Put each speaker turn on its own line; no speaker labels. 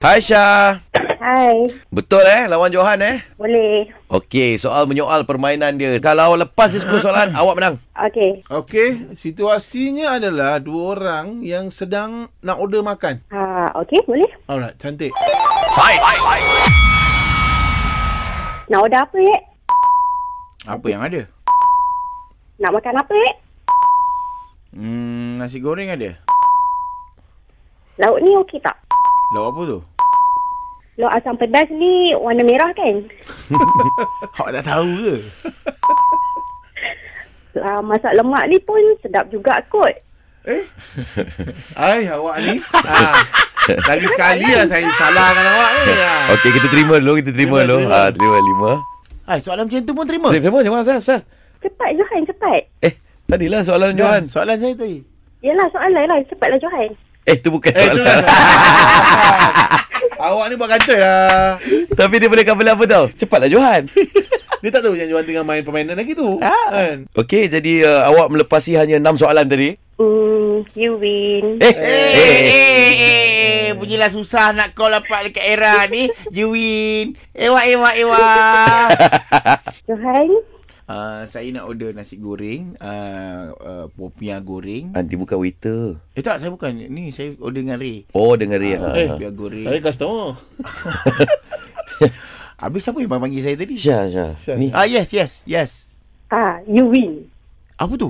Hai Syah.
Hai,
Betul eh lawan Johan eh?
boleh.
Okey, soal menyoal permainan dia. Kalau lepas dia 10 soalan, awak menang.
Okey.
Okey, situasinya adalah dua orang yang sedang nak order makan.
Ha, okey, boleh.
Alright, cantik.
Nak order apa, eh? Yek?
Apa yang ada?
Nak makan apa, eh? Yek?
Hmm, nasi goreng ada.
Lauk ni okey tak?
Lauk apa tu?
Lauk asam pedas ni warna merah kan?
Awak tak tahu ke?
Uh, masak lemak ni pun sedap juga kot.
Ai, awak ni. ha. Lagi sekali lah saya salahkan awak ni. Ha.
Okey, kita terima dulu, kita terima,
Terima,
dulu.
terima.
Ah, terima lima.
Hai, soalan macam tu pun terima.
Terima, terima, terima Syah, Syah.
Cepat, Johan, cepat.
Eh, tadilah soalan
Johan,
Johan.
soalan saya tadi.
Yelah, soalan lah. Cepatlah, Johan.
Eh, tu bukan
Eh, tu
soalan.
awak ni buat kacau lah.
Tapi dia boleh cover apa tau? Cepatlah Johan.
Dia tak tahu yang Johan tengah main permainan lagi tu. Ha. Kan?
Okey, jadi uh, awak melepasi hanya 6 soalan tadi.
Hmm, you win.
Eh,
Eh,
eh,
eh, eh, eh, Bunyilah susah nak call dapat dekat era ni. You win. Ewa, ewa, ewa.
Johan,
uh, saya nak order nasi goreng. Uh, uh, popiah goreng.
Nanti bukan waiter.
Eh tak, saya bukan. Ni, saya order dengan Ray.
Oh, dengar dia.
Eh,
Ha.
popiah goreng.
Saya customer.
Habis siapa yang panggil saya tadi?
Syah, Syah.
Syah.
Ni.
Ah, yes, yes, yes.
ah, you win.
Apa tu?